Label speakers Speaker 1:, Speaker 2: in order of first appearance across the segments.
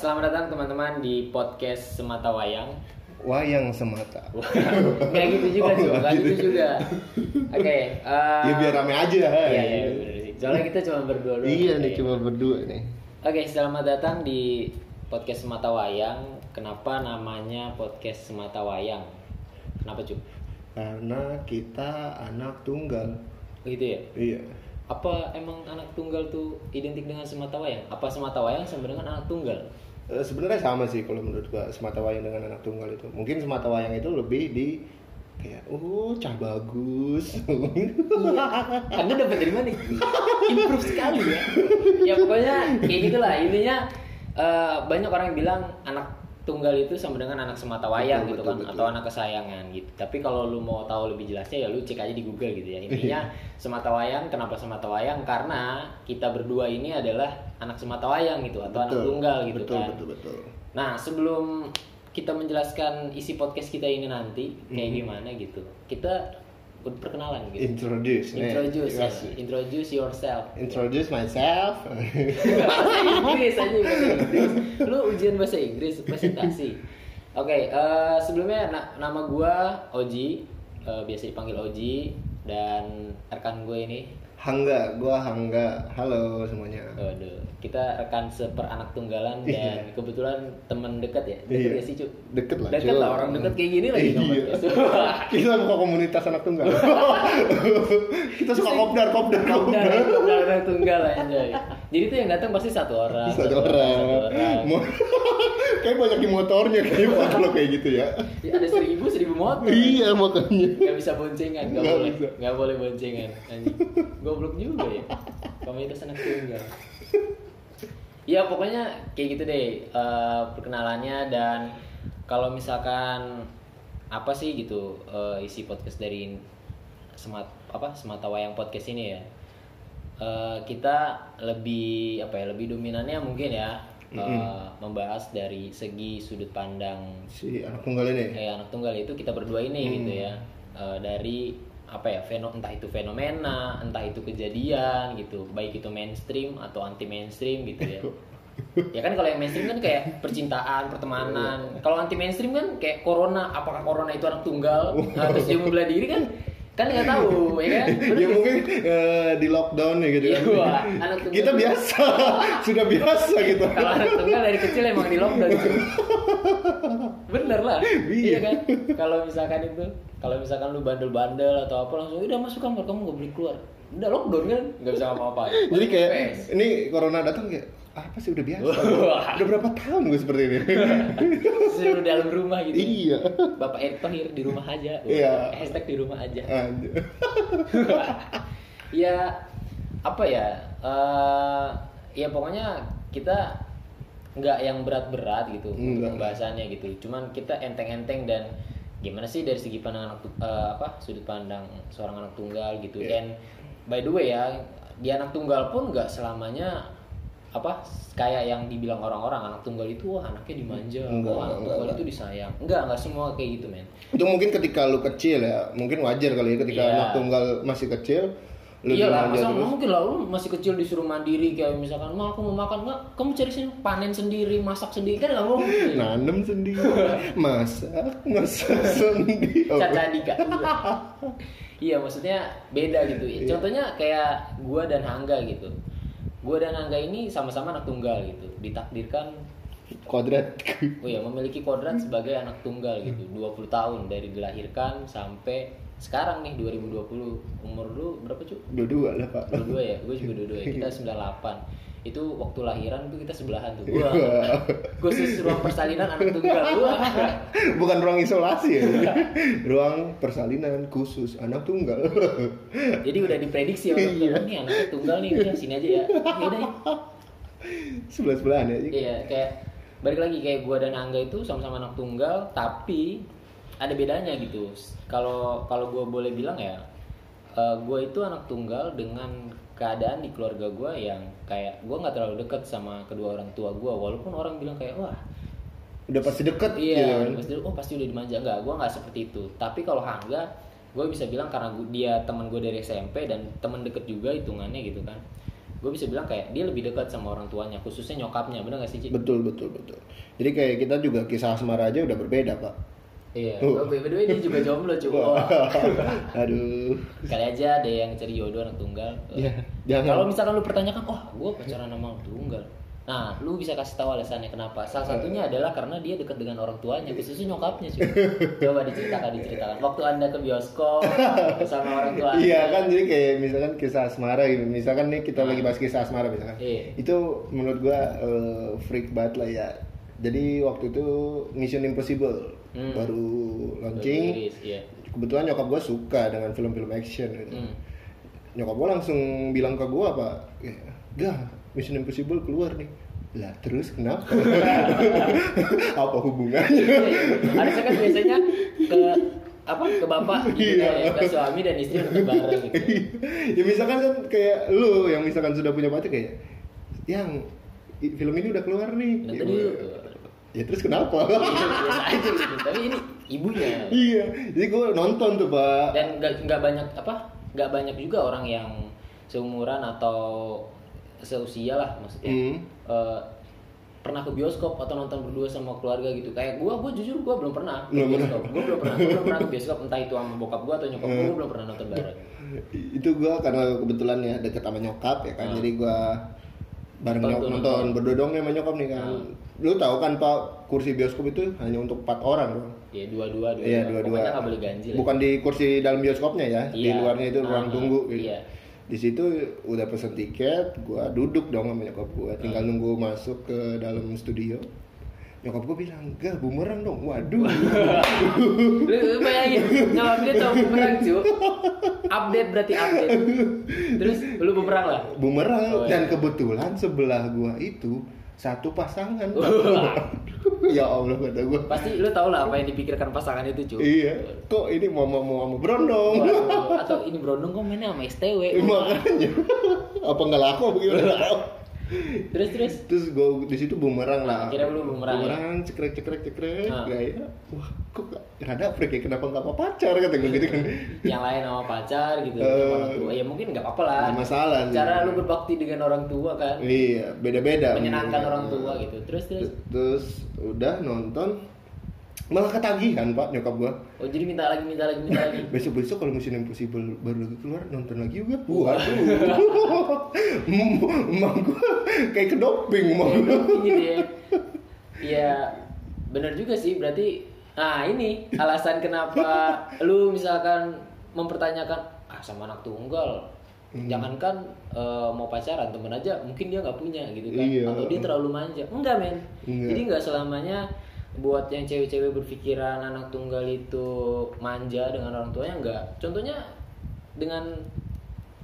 Speaker 1: selamat datang teman-teman di podcast Semata Wayang.
Speaker 2: Wayang semata.
Speaker 1: Gak gitu juga
Speaker 2: Oh,
Speaker 1: sih,
Speaker 2: nggak
Speaker 1: gak gitu
Speaker 2: gitu.
Speaker 1: juga. Oke. eh,
Speaker 2: ya biar rame aja.
Speaker 1: Iya, iya, bener sih. Soalnya kita cuma berdua. doang.
Speaker 2: Iya nih
Speaker 1: Oke.
Speaker 2: cuma berdua nih.
Speaker 1: Oke, selamat datang di podcast Semata Wayang. Kenapa namanya podcast Semata Wayang? Kenapa cuk?
Speaker 2: Karena kita anak tunggal.
Speaker 1: Begitu ya.
Speaker 2: Iya.
Speaker 1: Apa emang anak tunggal tuh identik dengan semata wayang? Apa semata wayang sama dengan anak tunggal?
Speaker 2: Eh, Sebenarnya sama sih kalau menurut gua semata wayang dengan anak tunggal itu. Mungkin semata wayang itu lebih di kayak oh cah bagus.
Speaker 1: Iya. Anda dapat dari mana? Improve sekali ya. Ya pokoknya kayak gitulah intinya eh, banyak orang bilang anak tunggal itu sama dengan anak semata wayang
Speaker 2: Betul,
Speaker 1: gitu
Speaker 2: betul,
Speaker 1: kan
Speaker 2: betul.
Speaker 1: atau anak kesayangan gitu. Tapi kalau lu mau tahu lebih jelasnya ya lu cek aja di Google gitu ya. Intinya semata wayang kenapa semata wayang? Karena kita berdua ini adalah anak semata wayang gitu atau anak tunggal gitu
Speaker 2: betul,
Speaker 1: kan.
Speaker 2: Betul betul
Speaker 1: Nah, sebelum kita menjelaskan isi podcast kita ini nanti kayak gimana gitu. Kita udah perkenalan gitu.
Speaker 2: Introduce. nih.
Speaker 1: Introduce, ya.
Speaker 2: Yes.
Speaker 1: introduce yourself.
Speaker 2: Introduce myself.
Speaker 1: bahasa Inggris aja bahasa Inggris. Lu ujian bahasa Inggris presentasi. Oke, eh, sebelumnya na- nama gua Oji, eh, biasa dipanggil Oji dan rekan gue ini.
Speaker 2: Hangga, gua Hangga. Halo semuanya.
Speaker 1: Waduh, kita rekan seperanak tunggalan dan kebetulan teman dekat ya. Dekat
Speaker 2: Iya.
Speaker 1: ya sih, Cuk?
Speaker 2: Deket lah.
Speaker 1: Deket
Speaker 2: cuy.
Speaker 1: lah, orang deket kayak gini lagi
Speaker 2: Iya.
Speaker 1: nge-podcast.
Speaker 2: Kita buka komunitas anak tunggal. Kita suka kopdar, kopdar,
Speaker 1: Kopdar,
Speaker 2: kopdar.
Speaker 1: kopdar anak ya, tunggal anjay. Jadi tuh yang datang pasti satu orang.
Speaker 2: Satu orang.
Speaker 1: Satu orang.
Speaker 2: Mo- kayak banyak yang motornya kayaknya kalau kayak gitu ya.
Speaker 1: Ya, ada seribu seribu motor.
Speaker 2: iya makanya.
Speaker 1: Gak bisa boncengan, gak,
Speaker 2: Nggak
Speaker 1: boleh,
Speaker 2: bisa.
Speaker 1: gak boleh boncengan. Anjing. Goblok juga ya. Komunitas anak tunggal. Ya pokoknya kayak gitu deh eh, perkenalannya dan kalau misalkan apa sih gitu eh, isi podcast dari semat apa semata wayang podcast ini ya. Eh, kita lebih apa ya lebih dominannya mungkin ya eh, membahas dari segi sudut pandang
Speaker 2: Si anak tunggal ya? Hmm. ini.
Speaker 1: kayak anak tunggal itu kita berdua ini gitu ya Eh, dari apa ya feno- entah itu fenomena entah itu kejadian gitu baik itu mainstream atau anti mainstream gitu ya ya kan kalau yang mainstream kan kayak percintaan pertemanan
Speaker 2: Iya.
Speaker 1: kalau anti mainstream kan kayak corona apakah corona itu anak tunggal
Speaker 2: Oh.
Speaker 1: nah, terus dia membelah diri kan kan nggak tahu ya kan Bener
Speaker 2: Ya
Speaker 1: nggak sih?
Speaker 2: mungkin eh, di lockdown ya gitu.
Speaker 1: Iya,
Speaker 2: kan.
Speaker 1: gua, anak tunggal.
Speaker 2: Kita biasa, sudah biasa gitu.
Speaker 1: kalau anak tunggal dari kecil emang di lockdown bener lah iya
Speaker 2: Iya.
Speaker 1: kan kalau misalkan itu kalau misalkan lu bandel-bandel atau apa langsung udah masuk kamar kamu gak boleh keluar udah lockdown kan nggak bisa ngapa-ngapa
Speaker 2: Jadi kayak ini corona datang kayak apa sih udah biasa.
Speaker 1: Wah.
Speaker 2: udah berapa tahun gue seperti ini.
Speaker 1: seluruh dalam rumah gitu
Speaker 2: iya.
Speaker 1: bapak Erick Thohir di rumah aja Wah,
Speaker 2: Iya.
Speaker 1: hashtag di rumah aja
Speaker 2: Anjir.
Speaker 1: ya apa ya eh, ya pokoknya kita nggak yang berat-berat gitu
Speaker 2: Hmm, Nggak.
Speaker 1: pembahasannya gitu cuman kita enteng-enteng dan gimana sih dari segi pandangan anak tu- eh, apa sudut pandang seorang anak tunggal gitu
Speaker 2: Iya.
Speaker 1: dan by the way ya di anak tunggal pun nggak selamanya apa kayak yang dibilang orang-orang anak tunggal itu wah anaknya dimanja wah,
Speaker 2: Nggak,
Speaker 1: anak
Speaker 2: nggak,
Speaker 1: tunggal
Speaker 2: nggak.
Speaker 1: itu disayang enggak nggak semua kayak gitu men
Speaker 2: Itu mungkin ketika lu kecil ya, mungkin wajar kali ya ketika
Speaker 1: Iya.
Speaker 2: anak tunggal masih kecil, lu
Speaker 1: Iya lah,
Speaker 2: dimanja
Speaker 1: masa
Speaker 2: terus.
Speaker 1: mungkin lah lu masih kecil disuruh mandiri kayak misalkan, "Ma, aku mau makan." Enggak, kamu cari sini panen sendiri, masak sendiri kan enggak mungkin.
Speaker 2: "Eh, Nanem sendiri, masak, masak sendiri. Oh,
Speaker 1: Caca Dika. iya, maksudnya beda gitu.
Speaker 2: Iya.
Speaker 1: Contohnya kayak gua dan Hangga gitu. Gua dan Hangga ini sama-sama anak tunggal gitu. Ditakdirkan
Speaker 2: Kuadrat.
Speaker 1: oh ya memiliki kodrat sebagai anak tunggal gitu. 20 tahun dari dilahirkan sampai sekarang nih 2020. Umur lu berapa, Cuk?
Speaker 2: Dua-dua lah, Pak.
Speaker 1: dua-dua ya gue juga dua-dua ya kita 98 itu waktu lahiran tuh kita sebelahan tuh gue
Speaker 2: Wah.
Speaker 1: khusus ruang persalinan anak tunggal gue
Speaker 2: Bukan ruang isolasi ya.
Speaker 1: Iya.
Speaker 2: ruang persalinan khusus anak tunggal.
Speaker 1: jadi udah diprediksi orang tua ini anaknya tunggal nih udah sini aja ya beda ya
Speaker 2: Sebelah-sebelahan ya.
Speaker 1: iya kayak balik lagi kayak gue dan Angga itu sama-sama anak tunggal tapi ada bedanya gitu kalau kalau gue boleh bilang ya gue itu anak tunggal dengan keadaan di keluarga gue yang kayak gue nggak terlalu deket sama kedua orang tua gue walaupun orang bilang kayak wah
Speaker 2: Udah pasti deket
Speaker 1: Iya,
Speaker 2: gitu kan.
Speaker 1: pasti oh pasti udah dimanja enggak, gua nggak seperti itu. Tapi kalau Hangga, gue bisa bilang karena gua- dia teman gue dari SMP dan teman deket juga hitungannya gitu kan. gue bisa bilang kayak dia lebih dekat sama orang tuanya khususnya nyokapnya bener gak sih Ci?
Speaker 2: betul betul betul jadi kayak kita juga kisah asmara aja udah berbeda pak
Speaker 1: iya gue by the way dia juga jomblo Oh. cuy
Speaker 2: aduh
Speaker 1: kali aja ada yang cari jodoh anak tunggal
Speaker 2: Iya, jangan.
Speaker 1: kalau misalkan lu pertanyakan oh gue pacaran sama anak tunggal nah lu bisa kasih tahu alasannya kenapa salah satunya adalah karena dia dekat dengan orang tuanya khususnya nyokapnya cuy coba diceritakan diceritakan waktu anda ke bioskop sama orang tua Anda.
Speaker 2: Iya kan jadi kayak misalkan kisah asmara gitu. Misalkan nih kita lagi bahas kisah asmara misalkan.
Speaker 1: Iya.
Speaker 2: Itu menurut gua eh, freak banget lah ya. Jadi waktu itu Mission Impossible
Speaker 1: Hmm.
Speaker 2: baru launching.
Speaker 1: Iris, iya.
Speaker 2: Kebetulan nyokap gua suka dengan film-film action gitu.
Speaker 1: Hmm.
Speaker 2: Nyokap gua langsung bilang ke gua apa? Gak, Mission Impossible keluar nih. Lah terus kenapa? apa hubungannya?
Speaker 1: ada kan biasanya ke apa ke bapak gitu
Speaker 2: Iya.
Speaker 1: ya, ke suami dan istri untuk bareng gitu.
Speaker 2: ya misalkan kan kayak lu yang misalkan sudah punya pacar kayak yang i- film ini udah keluar nih
Speaker 1: Nah,
Speaker 2: ya,
Speaker 1: tadi
Speaker 2: gua- ya terus kenapa
Speaker 1: Iya, biasa aja gitu. tapi ini ibunya
Speaker 2: iya jadi gue nonton tuh pak
Speaker 1: dan nggak nggak banyak apa nggak banyak juga orang yang seumuran atau seusia lah maksudnya
Speaker 2: Hmm.
Speaker 1: Eh, pernah ke bioskop atau nonton berdua sama keluarga gitu kayak gua gua jujur gua belum pernah ke
Speaker 2: Belum
Speaker 1: bioskop gua belum pernah gua belum pernah ke bioskop entah itu sama bokap gua atau nyokap gua
Speaker 2: Hmm.
Speaker 1: gua belum pernah nonton bareng
Speaker 2: itu gue karena kebetulan ya deket sama nyokap ya kan
Speaker 1: Hmm.
Speaker 2: jadi gue bareng
Speaker 1: Nonton,
Speaker 2: nyokap
Speaker 1: nonton.
Speaker 2: nonton berdua dong nih sama nyokap nih kan
Speaker 1: Hmm.
Speaker 2: lu tahu kan pak kursi bioskop itu hanya untuk empat orang dong
Speaker 1: ya dua-dua dua
Speaker 2: Iya dua-dua.
Speaker 1: pokoknya nggak boleh ganjil
Speaker 2: Bukan di kursi dalam bioskopnya ya, di
Speaker 1: Iya.
Speaker 2: luarnya itu ruang
Speaker 1: Ah,
Speaker 2: tunggu. Gitu.
Speaker 1: iya.
Speaker 2: Di situ udah pesen tiket, gua duduk dong sama nyokap gua,
Speaker 1: Ah.
Speaker 2: tinggal nunggu masuk ke dalam studio. Nyokap gua bilang, "Gak, bumerang dong." Waduh.
Speaker 1: lu lu bayangin nyokap dia tau bumerang cu update berarti update terus lu bumerang lah
Speaker 2: bumerang
Speaker 1: Oh, iya.
Speaker 2: dan kebetulan sebelah gua itu satu pasangan.
Speaker 1: Wah.
Speaker 2: ya Allah kata gua.
Speaker 1: pasti lu tau lah apa yang dipikirkan pasangan itu cu
Speaker 2: Iya, kok ini mama mau sama brondong.
Speaker 1: Waduh, atau ini Brondong kok mainnya sama STW
Speaker 2: Makanya apa nggak laku apa gimana?
Speaker 1: terus terus
Speaker 2: terus gue di situ bumerang lah
Speaker 1: Akhirnya lu bumerang, ya?
Speaker 2: cekrek cekrek cekrek
Speaker 1: Ah.
Speaker 2: gaya wah kok gak- rada freak ya kenapa nggak mau pacar kata gue gitu kan
Speaker 1: yang lain sama pacar gitu
Speaker 2: Eh.
Speaker 1: sama orang tua ya mungkin nggak apa-apa lah
Speaker 2: Nggak masalah sih.
Speaker 1: cara lu berbakti dengan orang tua kan
Speaker 2: iya beda beda
Speaker 1: menyenangkan orang tua gitu terus terus
Speaker 2: terus udah nonton malah ketagihan pak nyokap gua
Speaker 1: oh jadi minta lagi minta lagi minta lagi
Speaker 2: besok besok kalau musim impossible baru lagi keluar nonton lagi juga waduh Em- emang gua kayak kedoping emang gua.
Speaker 1: ini dia ya bener juga sih berarti nah ini alasan kenapa lu misalkan mempertanyakan ah sama anak tunggal jangankan eh, mau pacaran temen aja mungkin dia nggak punya gitu kan
Speaker 2: Iya.
Speaker 1: atau dia terlalu manja enggak men
Speaker 2: Enggak.
Speaker 1: jadi nggak selamanya buat yang cewek-cewek berpikiran anak tunggal itu manja dengan orang tuanya enggak contohnya dengan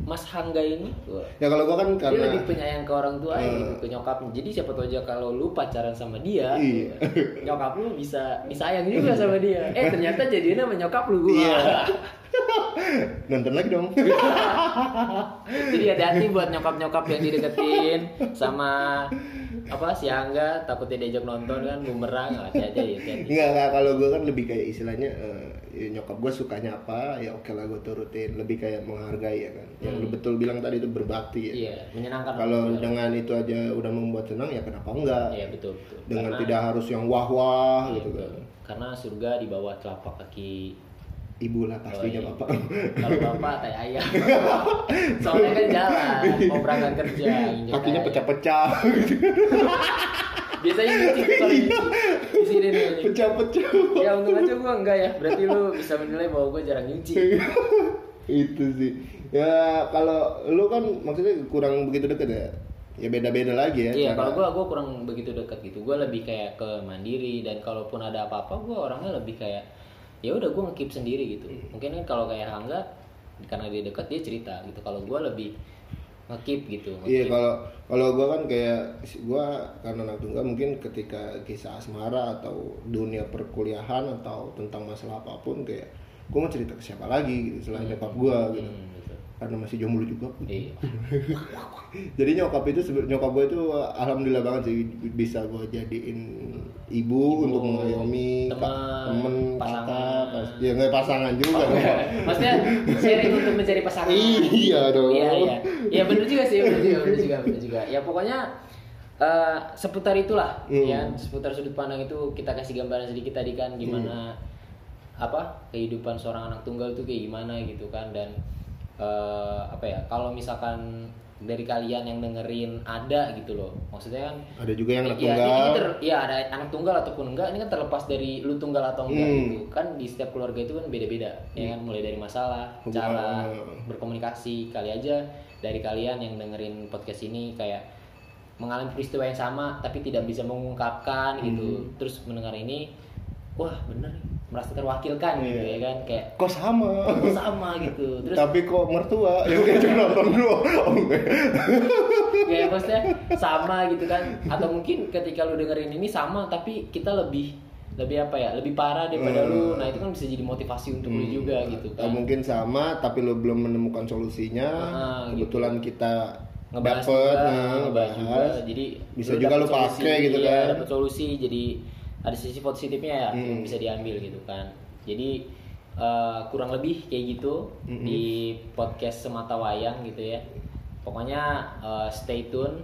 Speaker 1: Mas Hangga ini wah,
Speaker 2: ya kalau gua
Speaker 1: Iya.
Speaker 2: kan
Speaker 1: dia
Speaker 2: karena
Speaker 1: lebih penyayang ke orang tua
Speaker 2: Eh.
Speaker 1: gitu, ke nyokapnya. Jadi siapa tahu aja kalau lu pacaran sama dia,
Speaker 2: Iya.
Speaker 1: nyokap lu bisa disayang juga sama dia. Eh ternyata jadinya sama nyokap lu gua.
Speaker 2: Iya. nonton lagi dong
Speaker 1: Jadi hati-hati buat nyokap-nyokap yang dideketin sama apa si Angga takutnya diajak nonton kan bumerang hati-hati ya, hati-hati.
Speaker 2: Enggak, enggak kalau gue kan lebih kayak istilahnya eh, ya nyokap gue sukanya apa ya oke lah gue turutin lebih kayak menghargai ya kan yang lu betul bilang tadi itu berbakti ya
Speaker 1: Hmm. Iya, menyenangkan.
Speaker 2: kalau dengan itu aja udah membuat senang ya kenapa enggak
Speaker 1: Iya, betul, betul.
Speaker 2: dengan
Speaker 1: Karena-
Speaker 2: tidak harus yang wah wah
Speaker 1: Iya,
Speaker 2: gitu
Speaker 1: betul.
Speaker 2: kan
Speaker 1: Karena surga di bawah telapak kaki
Speaker 2: ibu lah pastinya
Speaker 1: Oh, iya.
Speaker 2: bapak
Speaker 1: kalau bapak tai ayam soalnya kan jalan mau berangkat kerja injek
Speaker 2: Iya. kakinya
Speaker 1: tai ayam.
Speaker 2: pecah-pecah
Speaker 1: Iya. biasanya lucu tuh kalau
Speaker 2: Iya.
Speaker 1: di di sini nih
Speaker 2: pecah-pecah
Speaker 1: ya untung aja gua enggak ya berarti lu bisa menilai bahwa gua jarang
Speaker 2: Iya.
Speaker 1: nyuci
Speaker 2: itu sih ya kalau lu kan maksudnya kurang begitu deket ya ya beda-beda lagi ya
Speaker 1: iya kalau
Speaker 2: cara-
Speaker 1: gua gua kurang begitu dekat gitu gua lebih kayak ke mandiri dan kalaupun ada apa-apa gua orangnya lebih kayak ya udah gua ngekip sendiri gitu
Speaker 2: Iya.
Speaker 1: mungkin kan kalau kayak Hangga karena dia dekat dia cerita gitu kalau gua lebih ngekip gitu
Speaker 2: Iya kalau kalau gue kan kayak gua karena anak tunggal mungkin ketika kisah asmara atau dunia perkuliahan atau tentang masalah apapun kayak gue mau cerita ke siapa lagi gitu selain nyokap gue gitu
Speaker 1: Hmm, gitu.
Speaker 2: karena masih jomblo juga
Speaker 1: iya
Speaker 2: jadi nyokap itu sebe- nyokap gue itu alhamdulillah banget sih bisa gue jadiin
Speaker 1: Ibu,
Speaker 2: ibu, untuk mengayomi
Speaker 1: teman,
Speaker 2: ka- temen
Speaker 1: pasangan. Oh, iya.
Speaker 2: kakak pas- ya nggak pasangan juga dong
Speaker 1: Maksudnya sharing untuk mencari pasangan.
Speaker 2: Iya dong.
Speaker 1: Iya iya. Iya benar juga sih, benar juga, benar juga, benar juga. Ya pokoknya eh, seputar itulah,
Speaker 2: Hmm.
Speaker 1: ya seputar sudut pandang itu kita kasih gambaran sedikit tadi kan gimana apa kehidupan seorang anak tunggal itu kayak gimana gitu kan dan eh, apa ya kalau misalkan dari kalian yang dengerin ada gitu loh maksudnya kan
Speaker 2: ada juga yang anak
Speaker 1: Iya, ini-
Speaker 2: tunggal
Speaker 1: ini ter- Iya, ada anak tunggal ataupun enggak, ini kan terlepas dari lu tunggal atau enggak
Speaker 2: Hmm.
Speaker 1: gitu. Kan di setiap keluarga itu kan beda-beda. Ya kan mulai dari masalah,
Speaker 2: Hubungan.
Speaker 1: cara berkomunikasi kali aja dari kalian yang dengerin podcast ini kayak mengalami peristiwa yang sama tapi tidak bisa mengungkapkan
Speaker 2: Hmm.
Speaker 1: gitu. Terus mendengar ini, wah bener nih, merasa terwakilkan gitu
Speaker 2: Iya.
Speaker 1: ya kan kayak
Speaker 2: kok sama
Speaker 1: "Oh, sama gitu. Terus
Speaker 2: tapi kok mertua ya udah cuma nonton dulu oh, enggak.
Speaker 1: ya maksudnya sama gitu kan atau mungkin ketika lu dengerin ini sama tapi kita lebih lebih apa ya lebih parah daripada lu nah itu kan bisa jadi motivasi untuk
Speaker 2: Hmm.
Speaker 1: lu juga gitu
Speaker 2: Atau
Speaker 1: kan
Speaker 2: mungkin sama tapi lo belum menemukan solusinya
Speaker 1: Ah, gitu.
Speaker 2: kebetulan kita
Speaker 1: ngebahas
Speaker 2: dapet,
Speaker 1: juga
Speaker 2: nah,
Speaker 1: ngebahas juga
Speaker 2: bahas.
Speaker 1: jadi
Speaker 2: Bisa juga
Speaker 1: dapet
Speaker 2: lu pakai
Speaker 1: solusi,
Speaker 2: gitu
Speaker 1: iya,
Speaker 2: kan.
Speaker 1: dapet solusi jadi ada sisi positifnya ya yang bisa diambil gitu kan jadi eh, kurang lebih kayak gitu di podcast semata wayang gitu ya pokoknya eh, stay tune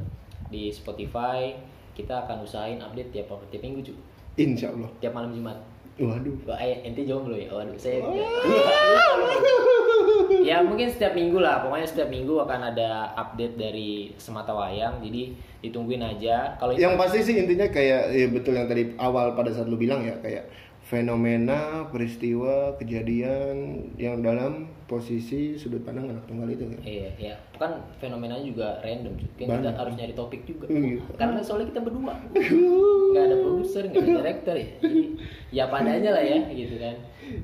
Speaker 1: di Spotify kita akan usahain update tiap tiap minggu juga
Speaker 2: insya Allah
Speaker 1: tiap malam Jumat.
Speaker 2: waduh
Speaker 1: Wah, eh, ente jomblo ya? Waduh, saya
Speaker 2: Oh.
Speaker 1: Lupa, lupa, lupa. Ya mungkin setiap minggu lah, pokoknya setiap minggu akan ada update dari Semata Wayang, jadi ditungguin aja. Kalau
Speaker 2: yang pasti sih intinya kayak ya betul yang tadi awal pada saat lu bilang ya kayak fenomena peristiwa kejadian yang dalam posisi sudut pandang anak tunggal itu kan
Speaker 1: Iya, ya. Kan fenomenanya juga random. Kan kita
Speaker 2: Banyak.
Speaker 1: harus nyari topik juga.
Speaker 2: Iya.
Speaker 1: Karena soalnya kita berdua. nggak ada produser, nggak ada director ya. Jadi, ya padanya lah ya, gitu kan.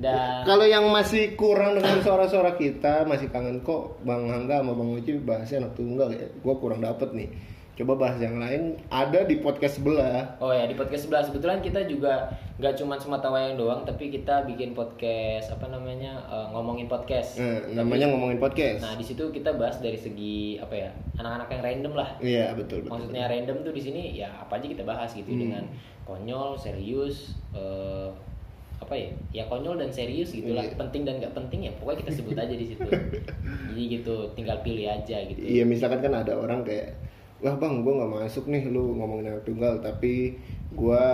Speaker 1: Dan
Speaker 2: kalau yang masih kurang dengan suara-suara kita masih kangen kok bang Hangga sama bang Uci bahasnya anak tunggal ya gue kurang dapet nih coba bahas yang lain ada di podcast sebelah
Speaker 1: Oh ya di podcast 11 kebetulan kita juga nggak cuma semata wayang doang tapi kita bikin podcast apa namanya eh, ngomongin podcast.
Speaker 2: Nah, namanya ngomongin podcast
Speaker 1: Nah di situ kita bahas dari segi apa ya anak-anak yang random lah.
Speaker 2: Iya betul betul. Hmm.
Speaker 1: Maksudnya random tuh di sini ya apa aja kita bahas gitu dengan konyol, serius, eh, apa ya ya konyol dan serius gitulah
Speaker 2: Iya.
Speaker 1: penting dan nggak penting ya pokoknya kita sebut aja di situ. Jadi gitu tinggal pilih aja gitu.
Speaker 2: Iya misalkan kan ada orang kayak wah bang gue nggak masuk nih lu ngomongin anak tunggal tapi gue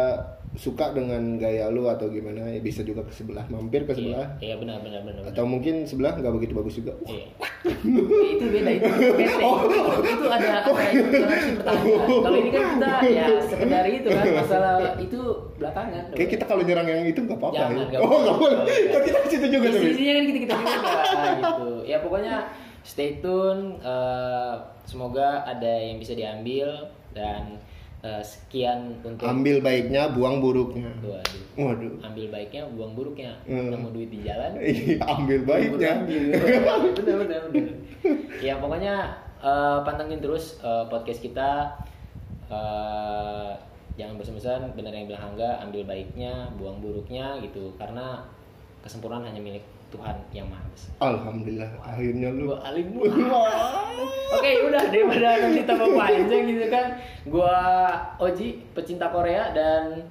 Speaker 2: suka dengan gaya lu atau gimana ya bisa juga ke sebelah mampir ke
Speaker 1: Iya,
Speaker 2: sebelah
Speaker 1: iya benar benar benar. benar.
Speaker 2: atau mungkin sebelah nggak begitu bagus juga.
Speaker 1: Iya. itu beda itu bete
Speaker 2: Oh.
Speaker 1: itu ada ada yang harus dipertahankan. kalau ini kan kita ya sekedar itu kan masalah itu belakangan
Speaker 2: Kayak kita kalau nyerang yang itu nggak apa-apa.
Speaker 1: Jangan,
Speaker 2: ya?
Speaker 1: nggak
Speaker 2: oh nggak
Speaker 1: boleh.
Speaker 2: boleh. Kan kita ke situ juga tapi.
Speaker 1: isinya kan kita kita gitu ya pokoknya stay tune eh, semoga ada yang bisa diambil dan eh, sekian untuk
Speaker 2: Ambil baiknya, buang buruknya.
Speaker 1: Waduh.
Speaker 2: Waduh.
Speaker 1: ambil baiknya buang buruknya
Speaker 2: Hmm. ya.
Speaker 1: nemu duit di jalan
Speaker 2: Iya, Ambil baiknya.
Speaker 1: bener bener bener ya pokoknya eh, pantengin terus eh, podcast kita Eh, jangan bersemesan bener yang bilang hangga ambil baiknya buang buruknya gitu karena kesempurnaan hanya milik Tuhan yang maha besar
Speaker 2: Alhamdulillah akhirnya lu.
Speaker 1: gua alim Oke udah daripada nanti tambah panjang gitu kan Gua Oji pecinta Korea dan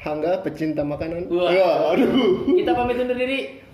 Speaker 2: Hangga pecinta makanan.
Speaker 1: Wah.
Speaker 2: Ya, aduh.
Speaker 1: kita pamit undur diri